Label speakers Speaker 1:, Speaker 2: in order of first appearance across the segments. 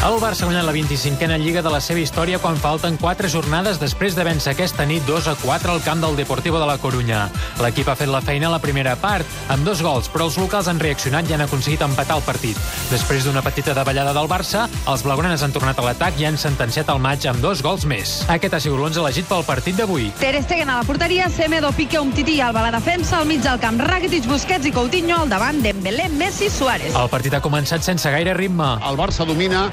Speaker 1: El Barça guanyant la 25a Lliga de la seva història quan falten 4 jornades després de vèncer aquesta nit 2 a 4 al camp del Deportivo de la Corunya. L'equip ha fet la feina a la primera part, amb dos gols, però els locals han reaccionat i han aconseguit empatar el partit. Després d'una petita davallada del Barça, els blaugranes han tornat a l'atac i han sentenciat el maig amb dos gols més. Aquest ha sigut l'11 elegit pel partit d'avui.
Speaker 2: Ter Stegen a la porteria, Semedo, Piqué, Umtiti, Alba a la defensa, al mig del camp Rakitic, Busquets i Coutinho, al davant Dembélé, Messi, Suárez.
Speaker 1: El partit ha començat sense gaire ritme.
Speaker 3: El Barça domina,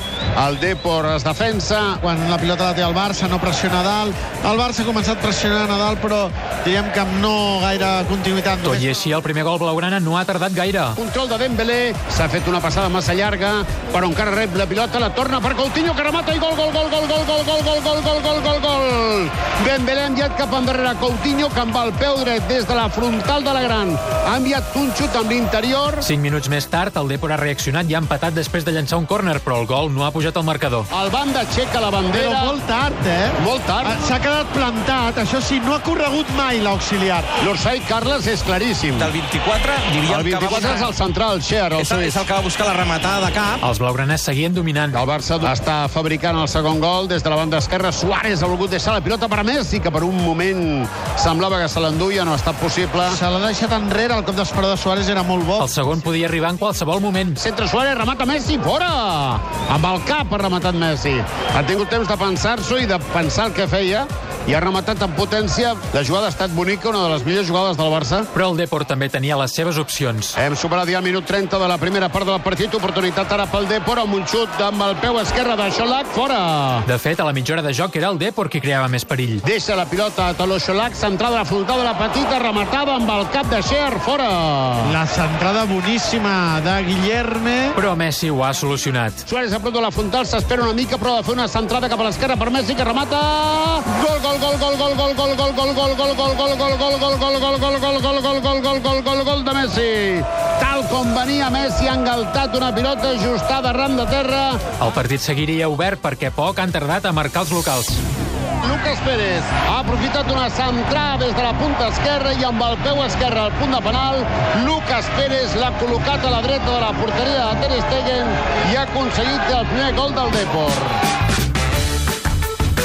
Speaker 3: el Depor es defensa.
Speaker 4: Quan la pilota la té el Barça, no pressiona a dalt. El Barça ha començat pressionant a dalt, però diguem que amb no gaire continuïtat.
Speaker 1: Tot i
Speaker 4: Només
Speaker 1: així, el primer gol blaugrana no ha tardat gaire.
Speaker 3: Control de Dembélé, s'ha fet una passada massa llarga, però encara rep la pilota, la torna per Coutinho, que remata i gol, gol, gol, gol, gol, gol, gol, gol, gol, gol, gol, gol, gol. Dembélé ha enviat cap endarrere Coutinho, que amb el peu dret des de la frontal de la gran ha enviat un xut amb l'interior.
Speaker 1: Cinc minuts més tard, el Depor ha reaccionat i ha empatat després de llançar un córner, però el gol no ha pujat al marcador.
Speaker 3: El banda aixeca la bandera.
Speaker 4: Però molt tard, eh?
Speaker 3: Molt tard.
Speaker 4: Ah, S'ha quedat plantat, això sí, no ha corregut mai l'auxiliar.
Speaker 3: L'Orsay Carles és claríssim.
Speaker 5: Del 24, diríem
Speaker 3: El 24 és el central, Xer, el
Speaker 5: és, el,
Speaker 3: suís.
Speaker 5: és el que va buscar la rematada de cap.
Speaker 1: Els blaugranes seguien dominant.
Speaker 3: El Barça està fabricant el segon gol des de la banda esquerra. Suárez ha volgut deixar la pilota per Messi, que per un moment semblava que se l'enduia, no ha estat possible.
Speaker 4: Se l'ha deixat enrere, el cop d'esperó de Suárez era molt bo.
Speaker 1: El segon podia arribar en qualsevol moment.
Speaker 3: Centre Suárez, remata Messi, fora! Amb el cap ha rematat Messi. Ha tingut temps de pensar-s'ho i de pensar el que feia i ha rematat amb potència. La jugada ha estat bonica, una de les millors jugades del Barça.
Speaker 1: Però el Depor també tenia les seves opcions.
Speaker 3: Hem superat ja el minut 30 de la primera part del partit. Oportunitat ara pel Depor amb un xut amb el peu esquerre de Xolac. Fora!
Speaker 1: De fet, a la mitja hora de joc era el Depor qui creava més perill.
Speaker 3: Deixa la pilota a Tolo Xolac, centrada a la frontal de la petita, rematada amb el cap de Xer, fora!
Speaker 4: La centrada boníssima de Guillerme.
Speaker 1: Però Messi ho ha solucionat.
Speaker 3: Suárez a prop de la frontal, s'espera una mica, però ha de fer una centrada cap a l'esquerra per Messi, que remata... Gol, gol, gol, gol, gol, gol, gol, gol, gol, gol, gol, gol, gol, gol, gol, gol, gol, gol, gol, gol, gol, gol, gol, gol, gol, gol, gol de Messi! Tal com venia Messi, ha engaltat una pilota ajustada ram de terra.
Speaker 1: El partit seguiria obert perquè poc han tardat a marcar els locals.
Speaker 3: Lucas Pérez ha aprofitat una centrada des de la punta esquerra i amb el peu esquerre al punt de penal. Lucas Pérez l'ha col·locat a la dreta de la porteria de Ter Stegen i ha aconseguit el primer gol del Depor.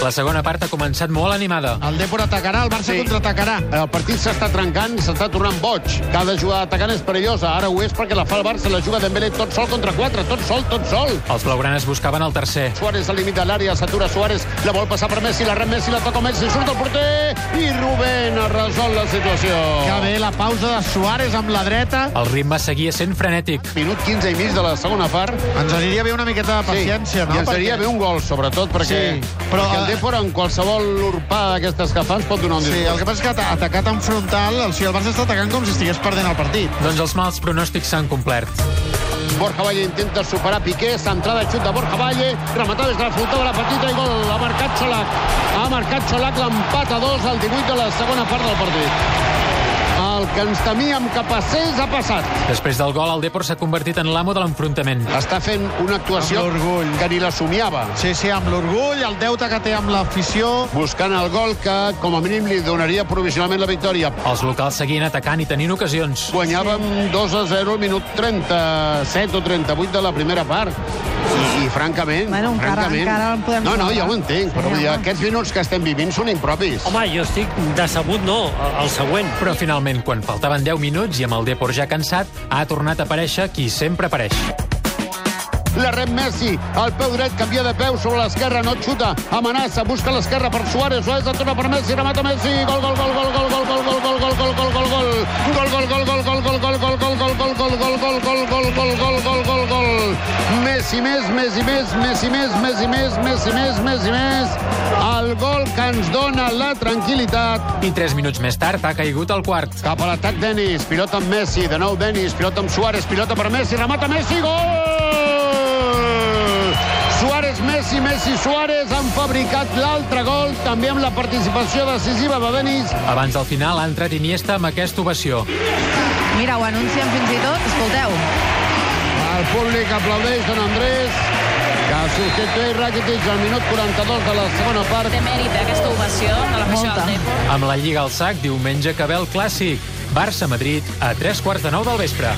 Speaker 1: La segona part ha començat molt animada.
Speaker 4: El Depor atacarà, el Barça
Speaker 3: Sí.
Speaker 4: sí. contraatacarà.
Speaker 3: El partit s'està trencant, s'està tornant boig. Cada jugada atacant és perillosa. Ara ho és perquè la fa el Barça, la juga Dembélé tot sol contra quatre, tot sol, tot sol.
Speaker 1: Els blaugranes buscaven el tercer.
Speaker 3: Suárez al límit de l'àrea, s'atura Suárez, la vol passar per Messi, la rep Messi, la toca Messi, surt el porter i Rubén ha resolt la situació.
Speaker 4: Que bé, la pausa de Suárez amb la dreta.
Speaker 1: El ritme seguia sent frenètic.
Speaker 3: Minut 15 i mig de la segona part.
Speaker 4: Ens aniria bé una miqueta de paciència,
Speaker 3: sí.
Speaker 4: no?
Speaker 3: I ens aniria
Speaker 4: Perquè-
Speaker 3: bé un gol, sobretot, perquè,
Speaker 4: Sí,
Speaker 3: sí,
Speaker 4: però,
Speaker 3: perquè el
Speaker 4: eh,
Speaker 3: Depor en qualsevol urpada d'aquestes que fa ens pot donar un
Speaker 4: Sí, el
Speaker 3: disgust.
Speaker 4: que passa és que ata- atacat en frontal, el, si el Barça està atacant com si estigués perdent el partit.
Speaker 1: Doncs els mals pronòstics s'han complert.
Speaker 3: Sí. Borja Valle intenta superar Piqué, centrada xut de Borja Valle, rematada des de la frontal de la petita i gol. Ha marcat Xolac. Ha marcat Xolac l'empat a dos al 18 de la segona part del partit. El que ens temíem que passés ha passat.
Speaker 1: Després del gol, el Depor s'ha convertit en l'amo de l'enfrontament.
Speaker 3: Està fent una actuació
Speaker 4: Amb l'orgull.
Speaker 3: que ni la somiava.
Speaker 4: Sí, sí, amb l'orgull, el deute que té amb l'afició...
Speaker 3: Buscant el gol que, com a mínim, li donaria provisionalment la victòria.
Speaker 1: Els locals seguien atacant i tenint ocasions.
Speaker 3: Guanyàvem 2 a 0 al minut 37 o 38 de la primera part. I, i francament,
Speaker 2: Bueno, encara-
Speaker 3: francament...
Speaker 2: encara en podem
Speaker 3: no, no,
Speaker 2: salvar.
Speaker 3: ja ho entenc, però
Speaker 2: Sí,
Speaker 3: vull dir,
Speaker 2: home.
Speaker 3: aquests minuts que estem vivint són impropis.
Speaker 6: Home, jo estic decebut, no, el- el següent.
Speaker 1: Però finalment, quan faltaven 10 minuts i amb el Depor ja cansat, ha tornat a aparèixer qui sempre apareix.
Speaker 3: La rep Messi, el peu dret canvia de peu sobre l'esquerra, no xuta, amenaça, busca l'esquerra per Suárez, Suárez en torna per Messi, remata Messi, gol, gol, gol, gol, gol, gol, gol, gol, gol, gol, gol, gol, gol, gol, gol, gol, gol, gol, gol, gol, gol, gol, gol, gol, gol, gol, gol, gol, gol, gol, gol, gol, gol, Messi més, Messi més, Messi més, Messi més, Messi més, Messi més, el gol que ens dona la tranquil·litat
Speaker 1: I 3 minuts més tard ha caigut el quart.
Speaker 3: Cap a l'atac, Denis. Pilota amb Messi. De nou, Denis. Pilota amb Suárez. Pilota per Messi. Remata Messi. Gol! Suárez, Messi, Messi, Messi, Suárez han fabricat l'altre gol, també amb la participació decisiva de Denis.
Speaker 1: Abans del final ha entrat Iniesta amb aquesta ovació.
Speaker 2: Mira, ho anuncien fins i tot, escolteu.
Speaker 3: El públic aplaudeix Don Andrés, que substitueix Rakitic al minut 42 de la segona part.
Speaker 7: Té mèrit, eh, aquesta ovació de la Caixa
Speaker 2: Molta.
Speaker 7: del Depor.
Speaker 1: Amb la Lliga al sac, diumenge que ve el Clàssic. Barça-Madrid a tres quarts de nou del vespre.